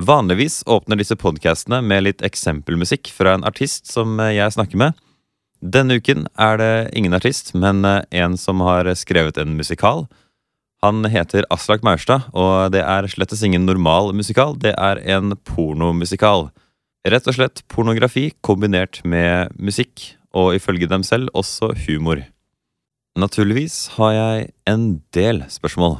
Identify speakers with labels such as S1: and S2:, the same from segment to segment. S1: Vanligvis åpner disse podcastene med litt eksempelmusikk fra en artist som eh, jeg snakker med. Denne uken er det ingen artist, men eh, en som har skrevet en musikal. Han heter Aslak Maurstad, og det er slettes ingen normal musikal. Det er en pornomusikal. Rett og slett pornografi kombinert med musikk, og ifølge dem selv også humor. Naturligvis har jeg en del spørsmål.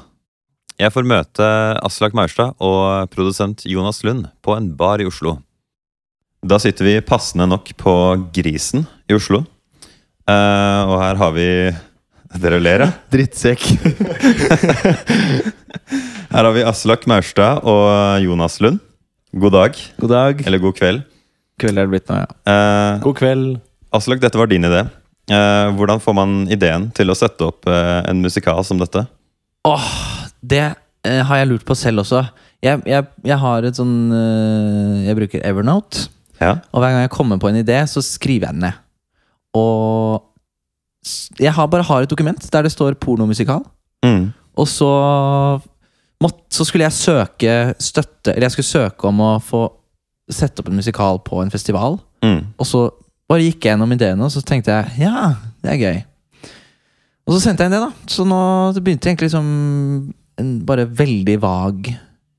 S1: Jeg får møte Aslak Maurstad og produsent Jonas Lund på en bar i Oslo. Da sitter vi passende nok på Grisen i Oslo. Eh, og her har vi Dere ler, ja?
S2: Drittsekk.
S1: Her har vi Aslak Maurstad og Jonas Lund. God dag,
S2: God dag.
S1: eller god kveld.
S2: Kveld er det blitt nå, ja.
S1: Eh,
S3: God kveld.
S1: Aslak, dette var din idé. Eh, hvordan får man ideen til å sette opp eh, en musikal som dette?
S3: Åh, det eh, har jeg lurt på selv også. Jeg, jeg, jeg har et sånn eh, Jeg bruker Evernote.
S1: Ja,
S3: Og hver gang jeg kommer på en idé, så skriver jeg den ned. Og s- jeg har bare har et dokument der det står pornomusikal.
S1: mm.
S3: Og så, måtte, så skulle jeg søke støtte Eller jeg skulle søke om å få sette opp en musikal på en festival.
S1: Mm.
S3: Og så bare gikk jeg gjennom ideene, og så tenkte jeg ja, det er gøy. Og så sendte jeg inn det, da. Så nå det begynte egentlig som en bare veldig vag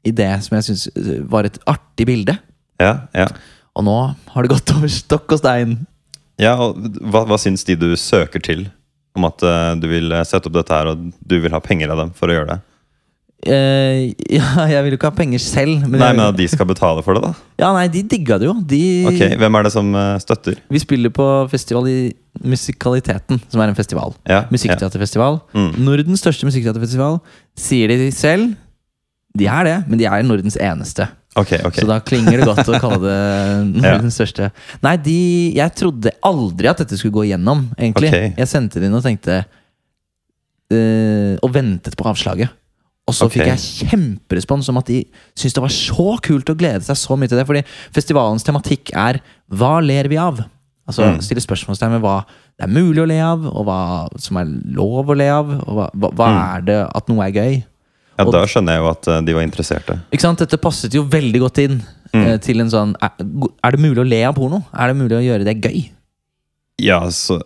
S3: idé som jeg syntes var et artig bilde.
S1: ja, ja.
S3: Og nå har det gått over stokk og stein.
S1: Ja, og hva, hva syns de du søker til om at eh, du vil eh, sette opp dette her, og du vil ha penger av dem for å gjøre det?
S3: Eh, ja, jeg vil jo ikke ha penger selv. Men
S1: Nei,
S3: jeg-
S1: men at de skal betale for det, da?
S3: Ja, nei, de digga det jo. De,
S1: Ok, Hvem er det som eh, støtter?
S3: Vi spiller på festival i Musikaliteten, som er en festival.
S1: Ja, ja.
S3: Musikkteaterfestival.
S1: Mm.
S3: Nordens største musikkteaterfestival, sier de selv. De er det, men de er Nordens eneste.
S1: Ok, ok.
S3: Så da klinger det godt å kalle det
S1: Ja.
S3: Nordens største. Nei, de, jeg trodde aldri at dette skulle gå igjennom, egentlig.
S1: Ok.
S3: Jeg sendte det inn og tenkte eh, Og ventet på avslaget. Og så
S1: Ok.
S3: fikk jeg kjemperespons om at de syntes det var så kult å glede seg så mye til det. Fordi festivalens tematikk er 'Hva ler vi av?' Altså
S1: Mm.
S3: stille spørsmålstegn ved hva det er mulig å le av, og hva som er lov å le av. Og hva, hva, hva
S1: Mm.
S3: er det at noe er gøy?
S1: ja, Da skjønner jeg jo at eh, de var interesserte.
S3: Ikke sant? Dette passet jo veldig godt inn
S1: Mm.
S3: eh, til en sånn er, er det mulig å le av porno? Er det mulig å gjøre det gøy?
S1: Ja, så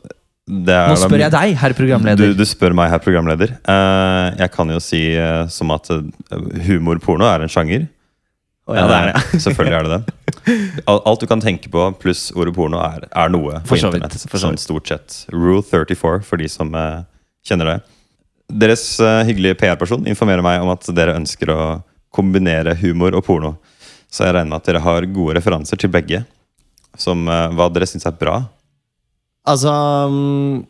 S1: det er
S3: Nå
S1: da
S3: spør
S1: mye-
S3: jeg deg, herr programleder.
S1: Du, du spør meg her, programleder. Eh, jeg kan jo si eh, som at eh, humorporno er en sjanger.
S3: Å, ja, det er det.
S1: Eh, selvfølgelig er det det. Al- Alt du kan tenke på pluss ordet porno, er, er noe på
S3: For så vidt,
S1: internett.
S3: for så
S1: Sånn stort sett. Rule 34 for de som eh, kjenner det. Deres eh, hyggelige PR-person informerer meg om at dere ønsker å kombinere humor og porno. Så jeg regner med at dere har gode referanser til begge. Som eh, hva dere syns er bra.
S2: Altså, mm,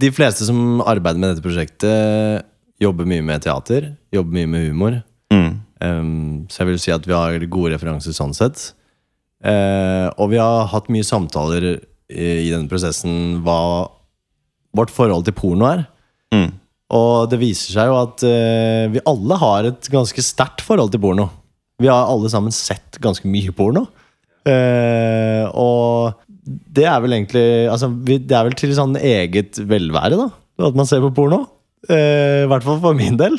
S2: de fleste som arbeider med dette prosjektet, jobber mye med teater. Jobber mye med humor.
S1: Mm.
S2: Ehm, så jeg vil si at vi har gode referanser sånn sett. Eh, og vi har hatt mye samtaler i, i denne prosessen hva vårt forhold til porno er.
S1: Mm.
S2: Og det viser seg jo at eh, vi alle har et ganske sterkt forhold til porno. Vi har alle sammen sett ganske mye porno. Eh, og det er vel egentlig altså, vi, Det er vel til sånn eget velvære, da. At man ser på porno. Eh, I hvert fall for min del.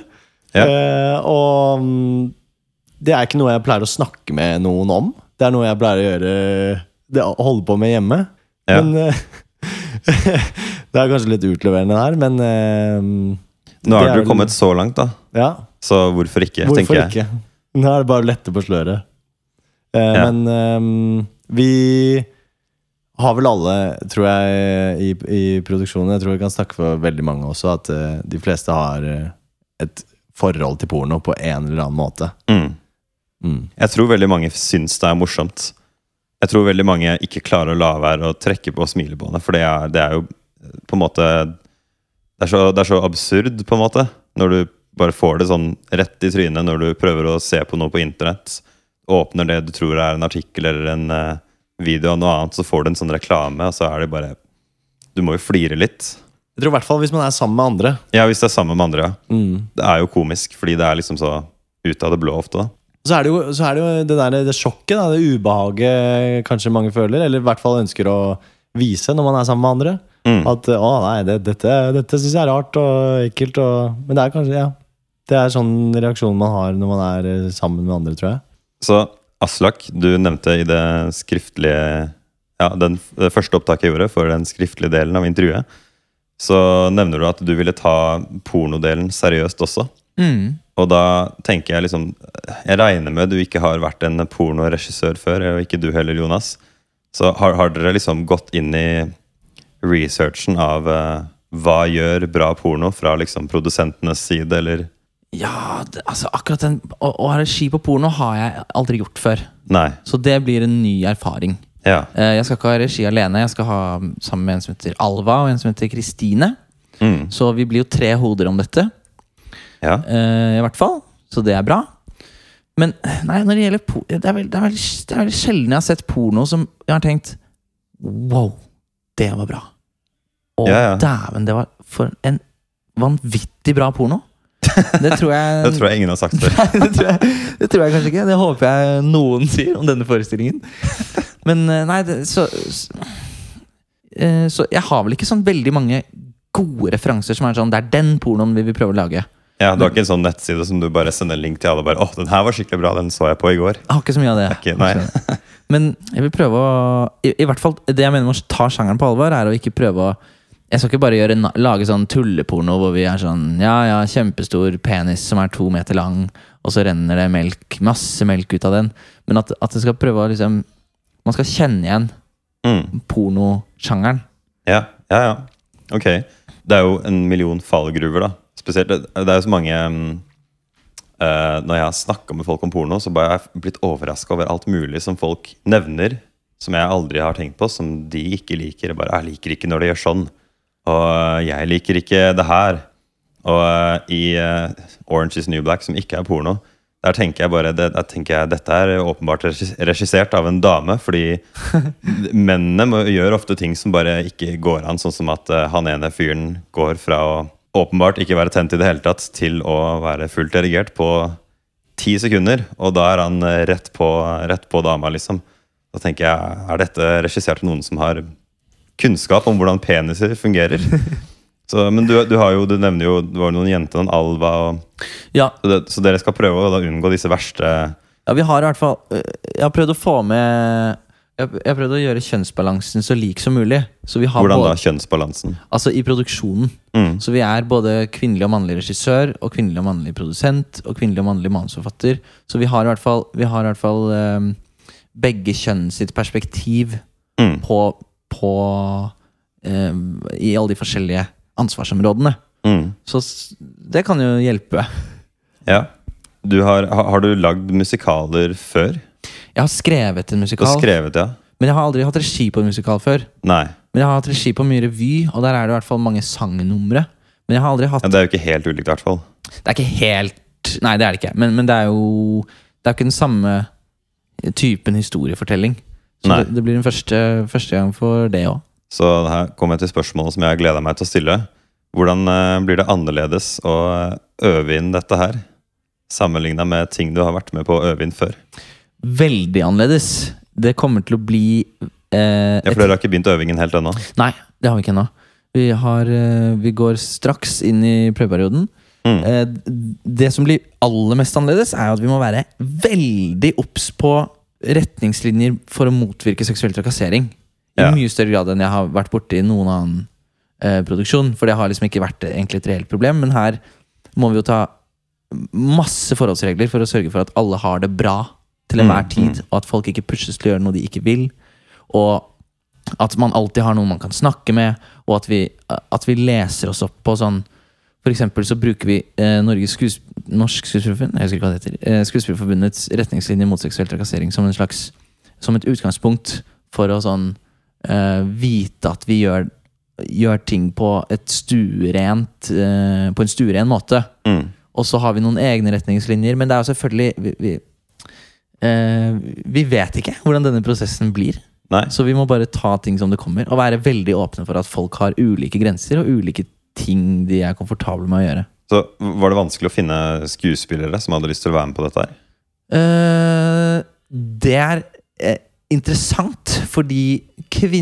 S1: Ja.
S2: Eh, og mm, det er ikke noe jeg pleier å snakke med noen om. Det er noe jeg pleier å gjøre det, å holde på med hjemme.
S1: Ja.
S2: Men eh, Det er kanskje litt utleverende her, men eh,
S1: Nå
S2: det
S1: har
S2: er
S1: dere
S2: vel-
S1: kommet så langt, da.
S2: Ja,
S1: Så hvorfor ikke, tenker
S2: hvorfor
S1: jeg.
S2: ikke? Nå er det bare å lette på sløret. Eh,
S1: Ja.
S2: Men eh, vi har vel alle, tror jeg, i, i produksjonen Jeg tror jeg kan snakke for veldig mange også, at eh, de fleste har eh, et forhold til porno på en eller annen måte.
S1: Mm.
S2: Mm.
S1: Jeg tror veldig mange syns det er morsomt. Jeg tror veldig mange ikke klarer å la være å trekke på smilebåndet, for det er, det er jo eh, på en måte det er, så, det er så absurd, på en måte, når du bare får det sånn rett i trynet når du prøver å se på noe på internett. Åpner det du tror er en artikkel eller en eh, video av noe annet, så får du en sånn reklame, og så er det bare Du må jo flire litt.
S2: Jeg tror i hvert fall hvis man er sammen med andre.
S1: Ja, hvis det er sammen med andre, ja.
S2: Mm.
S1: Det er jo komisk, fordi det er liksom så ut av det blå ofte, da.
S2: Så er det jo, så er det, jo det, der, det sjokket, da, det ubehaget kanskje mange føler, eller i hvert fall ønsker å vise når man er sammen med andre.
S1: Mm.
S2: At å nei, det, dette, dette syns jeg er rart og ekkelt. Og, men det er kanskje ja, det er sånn reaksjon man har når man er eh, sammen med andre, tror jeg.
S1: Så Aslak, du nevnte i det skriftlige Ja, den, det første opptaket jeg gjorde for den skriftlige delen av intervjuet, så nevner du at du ville ta pornodelen seriøst også.
S3: Mm.
S1: Og da tenker jeg liksom Jeg regner med du ikke har vært en pornoregissør før, og ikke du heller, Jonas. Så har, har dere liksom gått inn i researchen av eh, hva gjør bra porno fra liksom produsentenes side, eller
S3: Ja, det, altså akkurat den Å, å ha regi på porno har jeg aldri gjort før.
S1: Nei.
S3: Så det blir en ny erfaring.
S1: Ja.
S3: Eh, Jeg skal ikke ha regi alene. Jeg skal ha sammen med en som heter Alva, og en som heter Kristine.
S1: Mm.
S3: Så vi blir jo tre hoder om dette,
S1: Ja.
S3: eh, i hvert fall. Så det er bra. Men nei, når det gjelder po det, er vel- det, er veldig, det er veldig sjelden jeg har sett porno som jeg har tenkt Wow, det var bra. Å,
S1: Ja, ja.
S3: dæven, det var for en vanvittig bra porno. Det tror jeg
S1: Det tror jeg ingen har sagt før.
S3: Nei, det tror, jeg, det tror jeg kanskje ikke. Det håper jeg noen sier om denne forestillingen. Men eh, nei, det, så s- eh, Så jeg har vel ikke sånn veldig mange gode referanser som er sånn Det er den pornoen vi vil prøve å lage. Jeg
S1: Ja, Du har ikke en sånn nettside som du bare sender link til alle og bare 'Å, den her var skikkelig bra. Den så jeg på i går'.
S3: har ikke så mye av det.
S1: Ikke, nei.
S3: Men jeg vil prøve å i, I hvert fall det jeg mener med å ta sjangeren på alvor, er å ikke prøve å Jeg skal ikke bare gjøre, na- lage sånn tulleporno hvor vi er sånn Ja, ja, kjempestor penis som er to meter lang, og så renner det melk, masse melk ut av den. Men at, at det skal prøve å liksom Man skal kjenne igjen
S1: Mm.
S3: pornosjangeren.
S1: Ja, ja, ja. Ok. Det er jo en million fallgruver, da. Spesielt Det det er jo så mange mm, eh, Når jeg har snakka med folk om porno, så har jeg blitt overraska over alt mulig som folk nevner, som jeg aldri har tenkt på, som de ikke liker. Jeg Bare, jeg liker ikke når de gjør sånn. Og eh, jeg liker ikke det her. Og eh, i eh, Orange is the New Black, som ikke er porno, der tenker jeg bare det, der tenker jeg, Dette er åpenbart regis- regissert av en dame, fordi mennene må, gjør ofte ting som bare ikke går an. Sånn som at eh, han ene fyren går fra å åpenbart ikke være tent i det hele tatt, til å være fullt erigert på ti sekunder. Og da er han eh, rett på, rett på dama, liksom. Da tenker jeg, er dette regissert av noen som har kunnskap om hvordan peniser fungerer? Så, men du, du har jo, du nevner jo det var jo noen jenter, noen Alva og
S3: Ja,
S1: så, det, så dere skal prøve å da unngå disse verste
S3: Ja, vi har i hvert fall øh, Jeg har prøvd å få med Jeg jeg har prøvd å gjøre kjønnsbalansen så lik som mulig. Så vi har
S1: Hvordan da?
S3: både,
S1: Kjønnsbalansen.
S3: Altså i produksjonen.
S1: Mm.
S3: Så vi er både kvinnelig og mannlig regissør, og kvinnelig og mannlig produsent, og kvinnelig og mannlig manusforfatter. Så vi har i hvert fall, vi har i hvert fall øhm, begge kjønn sitt perspektiv
S1: Mm.
S3: på, på øhm, I alle de forskjellige ansvarsområdene.
S1: Mm.
S3: Så s- det kan jo hjelpe.
S1: Ja. Du har, ha- har du lagd musikaler før?
S3: Jeg har skrevet en
S1: Du har
S3: musikal,
S1: skrevet, ja?
S3: men jeg har aldri hatt regi på en musikal før.
S1: Nei.
S3: Men jeg har hatt regi på mye revy, og der er det i hvert fall mange sangnumre. Men jeg har aldri hatt
S1: Ja, det er jo ikke helt ulikt, i hvert fall.
S3: Det er ikke helt Nei, det er det ikke. Men, men det er jo Det er jo ikke den samme typen historiefortelling. Så
S1: Nei.
S3: det, det blir den første, første gang for det òg.
S1: Så her kommer jeg til spørsmålet som jeg har gleda meg til å stille. Hvordan eh, blir det annerledes å eh, øve inn dette her? Sammenligna med ting du har vært med på å øve inn før.
S3: Veldig annerledes. Det kommer til å bli eh,
S1: Ja, For dere har ikke begynt øvingen helt ennå?
S3: et, Nei, det har vi ikke ennå. Vi, har, eh, vi går straks inn i prøveperioden.
S1: Mm.
S3: Eh, d- det som blir aller mest annerledes, er jo at vi må være veldig obs på retningslinjer for å motvirke seksuell trakassering. I
S1: Ja.
S3: mye større grad enn jeg har vært borti i noen annen eh, produksjon. For det har liksom ikke vært egentlig et reelt problem. Men her må vi jo ta masse forholdsregler for å sørge for at alle har det bra til
S1: Mm,
S3: enhver tid. Og at folk ikke pushes til å gjøre noe de ikke vil. Og at man alltid har noen man kan snakke med. Og at vi, at vi leser oss opp på sånn for eksempel så bruker vi eh, Norges skues Norsk Skuespillerforbund Jeg husker ikke hva det heter eh, Skuespillerforbundets retningslinjer mot seksuell trakassering som, en slags, som et utgangspunkt for å sånn eh, vite at vi gjør, gjør ting på, et stuerent, eh, på en stueren måte.
S1: Mm.
S3: Og så har vi noen egne retningslinjer, men det er jo selvfølgelig vi, vi, eh, vi vet ikke hvordan denne prosessen blir.
S1: Nei?
S3: Så vi må bare ta ting som det kommer, og være veldig åpne for at folk har ulike grenser og ulike ting de er komfortable med å gjøre.
S1: Så var det vanskelig å finne skuespillere som hadde lyst til å være med på dette her?
S3: Eh, det er eh, interessant, fordi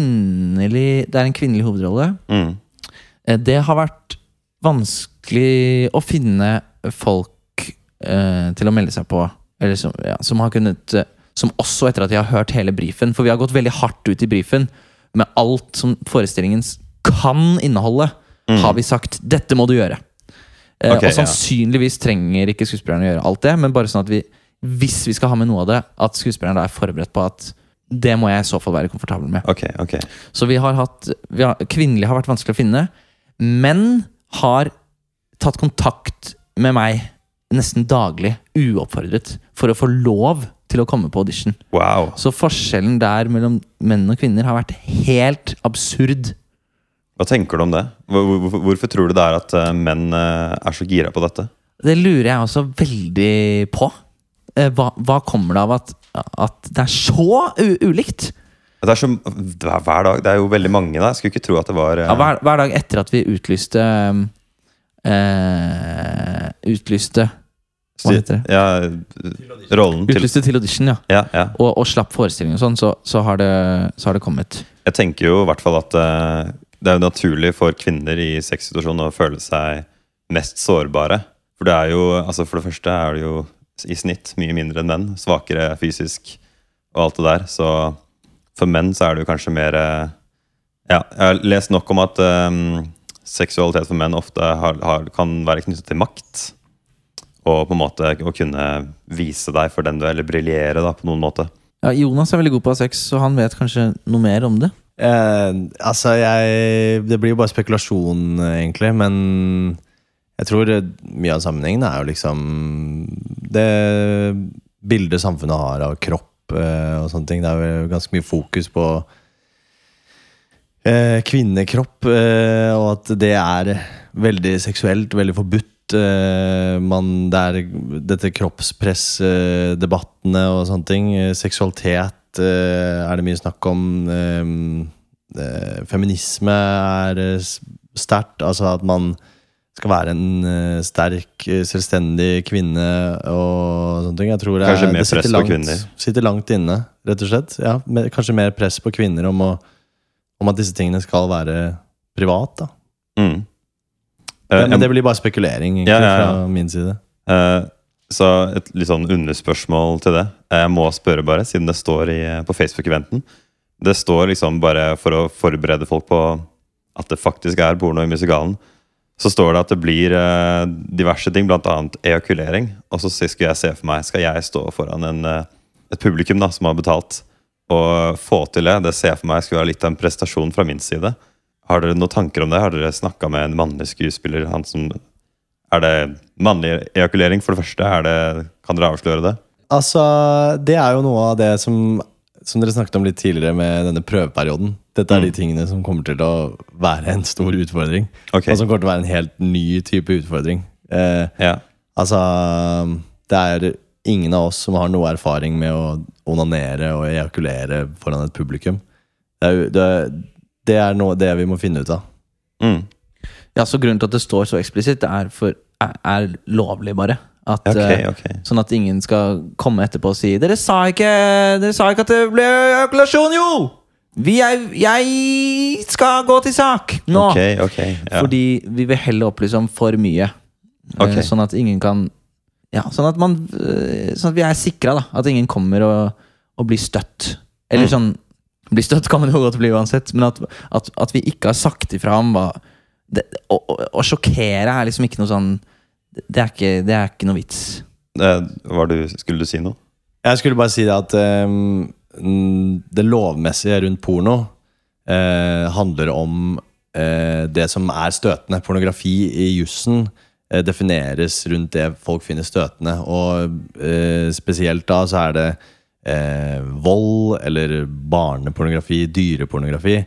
S3: kvinnelig Det er en kvinnelig hovedrolle.
S1: Mm.
S3: Eh, Det har vært vanskelig å finne folk eh, til å melde seg på, eller som, ja, som har kunnet eh, som også etter at jeg har hørt hele brifen For vi har gått veldig hardt ut i brifen med alt som forestillingen s- kan inneholde.
S1: Mm.
S3: Har vi sagt 'dette må du gjøre'. Eh,
S1: Ok,
S3: og sannsynligvis trenger ikke skuespilleren å gjøre alt det, men bare sånn at vi, hvis vi skal ha med noe av det, at skuespilleren da er forberedt på at det må jeg i så fall være komfortabel med.
S1: Ok, ok.
S3: Så vi har hatt vi har, Kvinnelige har vært vanskelig å finne. Menn har tatt kontakt med meg nesten daglig, uoppfordret, for å få lov til å komme på audition.
S1: Wow.
S3: Så forskjellen der mellom menn og kvinner har vært helt absurd.
S1: Hva tenker du om det? Hvor, hvor, hvorfor tror du det er at eh, menn eh, er så gira på dette?
S3: Det lurer jeg også veldig på. Eh, Hva, hva kommer det av at, at det er så u ulikt?
S1: Det er så, det er hver dag. Det er jo veldig mange der. Jeg skulle ikke tro at det var eh,
S3: Ja, hver, hver dag etter at vi utlyste um, eh, Utlyste
S1: sti-
S3: hva heter det?
S1: Ja, eh, rollen til
S3: Utlyste til audition, ja.
S1: ja, ja.
S3: Og, og slapp forestilling og sånn, så, så, har det, så har det kommet.
S1: Jeg tenker jo i hvert fall at eh, det er jo naturlig for kvinner i sexsituasjonen å føle seg mest sårbare. For det er jo, altså for det første er det jo i snitt mye mindre enn menn. Svakere fysisk og alt det der. Så for menn så er det jo kanskje mer eh, Ja, jeg har lest nok om at eh, seksualitet for menn ofte har, har, kan være knyttet til makt. Og på en måte å kunne vise deg for den du er, eller briljere da, på noen måte.
S3: Ja, Jonas er veldig god på å ha sex, så han vet kanskje noe mer om det.
S2: Eh, altså, jeg Det blir jo bare spekulasjon, eh, egentlig, men jeg tror eh, mye av sammenhengen er jo liksom det bildet samfunnet har av kropp eh, og sånne ting. Det er jo ganske mye fokus på eh, kvinnekropp, eh, og at det er veldig seksuelt, veldig forbudt. Eh, man, det er dette kroppspressdebattene og sånne ting. Eh, Seksualitet eh, er det mye snakk om. Eh, eh, feminisme er eh, s- sterkt. Altså at man skal være en eh, sterk, eh, selvstendig kvinne og sånne ting. Jeg tror det, er-
S1: Kanskje mer
S2: det sitter
S1: press på
S2: langt-
S1: kvinner.
S2: Sitter langt inne, rett og slett. Ja, mer- kanskje mer press på kvinner om, å, om at disse tingene skal være privat. Da.
S1: Mm. Eh,
S2: Men,
S1: jeg-
S2: men det blir bare spekulering egentlig,
S1: Ja, ja, ja.
S2: fra min side.
S1: Eh, Så et litt sånn underspørsmål til det. Eh, Jeg må spørre, bare, siden det står i, eh, på Facebook-eventen. Det står liksom bare for å forberede folk på at det faktisk er porno i musikalen. Så står det at det blir eh, diverse ting, bl.a. ejakulering. Og så skulle jeg se for meg Skal jeg stå foran en, eh, et publikum da, som har betalt, og få til det? Det ser jeg for meg skulle være litt av en prestasjon fra min side. Har dere noen tanker om det? Har dere snakka med en mannlig skuespiller? Han som er det mannlig ejakulering, for det første? Er det, kan dere avsløre det?
S2: Altså, det er jo noe av det som, som dere snakket om litt tidligere med denne prøveperioden. Dette
S1: Mm.
S2: er de tingene som kommer til å være en stor utfordring.
S1: Ok.
S2: Og som kommer til å være en helt ny type utfordring. Eh,
S1: Ja.
S2: altså, det er ingen av oss som har noe erfaring med å onanere og ejakulere foran et publikum. Det er, jo- det, det er noe, det vi må finne ut av.
S1: Mm.
S3: Ja, så Grunnen til at det står så eksplisitt, er, for, er, er lovlig, bare. At,
S1: Ok,
S3: eh,
S1: ok.
S3: Sånn at ingen skal komme etterpå og si 'Dere sa ikke, dere sa ikke at det ble ejakulasjon, jo!' Vi er, jeg skal gå til sak nå!
S1: Ok, ok. Ja.
S3: Ah. Fordi vi vil heller opplyse om for mye. Eh,
S1: Ok.
S3: Sånn at ingen kan Ja, sånn at, man, eh, sånn at vi er sikra, da. At ingen kommer og, og blir støtt.
S1: Mm.
S3: Eller sånn Bli støtt kan man jo godt bli uansett, men at, at, at vi ikke har sagt ifra om hva det, å, å, å sjokkere er liksom ikke noe sånn Det er ikke, det er ikke noe vits.
S1: Eh, var du, skulle du si noe?
S2: Jeg skulle bare si det at ehm, mm, det lovmessige rundt porno eh, handler om eh, det som er støtende. Pornografi i jussen eh, defineres rundt det folk finner støtende. Og eh, spesielt da så er det eh, vold eller barnepornografi, dyrepornografi.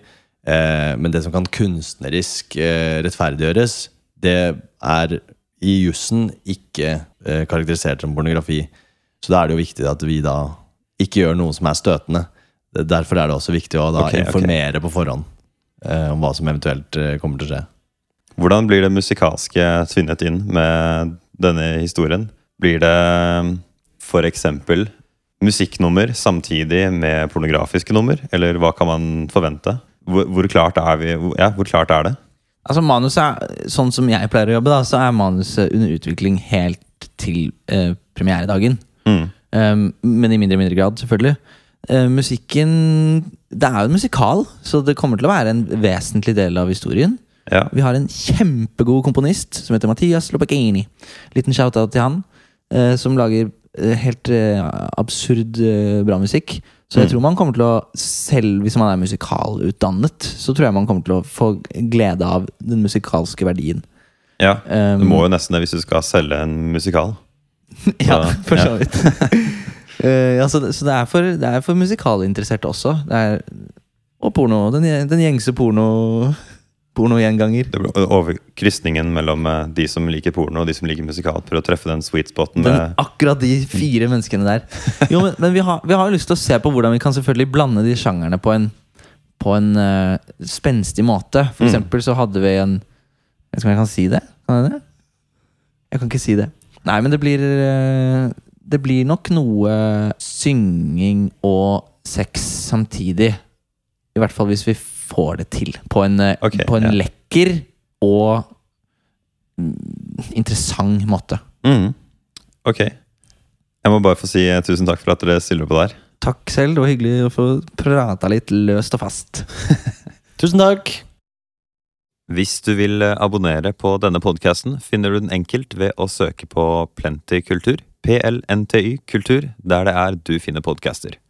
S2: Eh, men det som kan kunstnerisk eh, rettferdiggjøres, det er i jussen ikke eh, karakterisert som pornografi. Så da er det jo viktig at vi da ikke gjør noe som er støtende. Derfor er det også viktig å da
S1: Ok, ok.
S2: informere på forhånd eh, om hva som eventuelt eh, kommer til å skje.
S1: Hvordan blir det musikalske tvinnet inn med denne historien? Blir det mm, for eksempel musikknummer samtidig med pornografiske nummer? Eller hva kan man forvente? Hvor, hvor, klart, er vi, hvor- ja, hvor klart er det?
S3: Altså manuset er, Sånn som jeg pleier å jobbe, da så er manuset under utvikling helt til eh, premieredagen.
S1: Mm.
S3: Um, men i mindre og mindre grad, selvfølgelig. Eh, musikken Det er jo en musikal, så det kommer til å være en vesentlig del av historien.
S1: Ja.
S3: Vi har en kjempegod komponist som heter Mathias Lopakini. Liten shout-out til han, eh, som lager eh, helt eh, absurd eh, bra musikk. Så
S1: Mm.
S3: jeg tror man kommer til å, selv hvis man er musikalutdannet, så tror jeg man kommer til å få glede av den musikalske verdien.
S1: ja.
S3: Um,
S1: Du må jo nesten det hvis du skal selge en musikal.
S3: Ja,
S1: Ja,
S3: for
S1: ja.
S3: så vidt. Eh, ja, så det, så det, er for, det er for musikalinteresserte også. Det er, og porno. Den, gje- den gjengse porno pornogjenganger.
S1: Det blir over krysningen mellom eh, de som liker porno og de som liker musikal. Prøv å treffe den sweet spoten.
S3: Den,
S1: Med,
S3: akkurat de fire menneskene der. Jo, Men, men vi har vi har jo lyst til å se på hvordan vi kan selvfølgelig blande de sjangerne på en, på en eh, spenstig måte. For
S1: Mm.
S3: eksempel så hadde vi en Jeg vet ikke om jeg kan si det? Kan jeg det? Jeg kan ikke si det. Nei, men det blir eh, Det blir nok noe synging og sex samtidig. I hvert fall hvis vi får det til. På en, eh,
S1: Ok,
S3: på en
S1: ja.
S3: lekker og mm, interessant måte.
S1: mm. Ok. Jeg må bare få si eh, tusen takk for at dere stiller på der.
S3: Takk selv, det var hyggelig å få prata litt løst og fast.
S2: Tusen takk.
S1: Hvis du vil eh, abonnere på denne podkasten, finner du den enkelt ved å søke på Plenty Kultur, PLNTY Kultur, der det er du finner podcaster.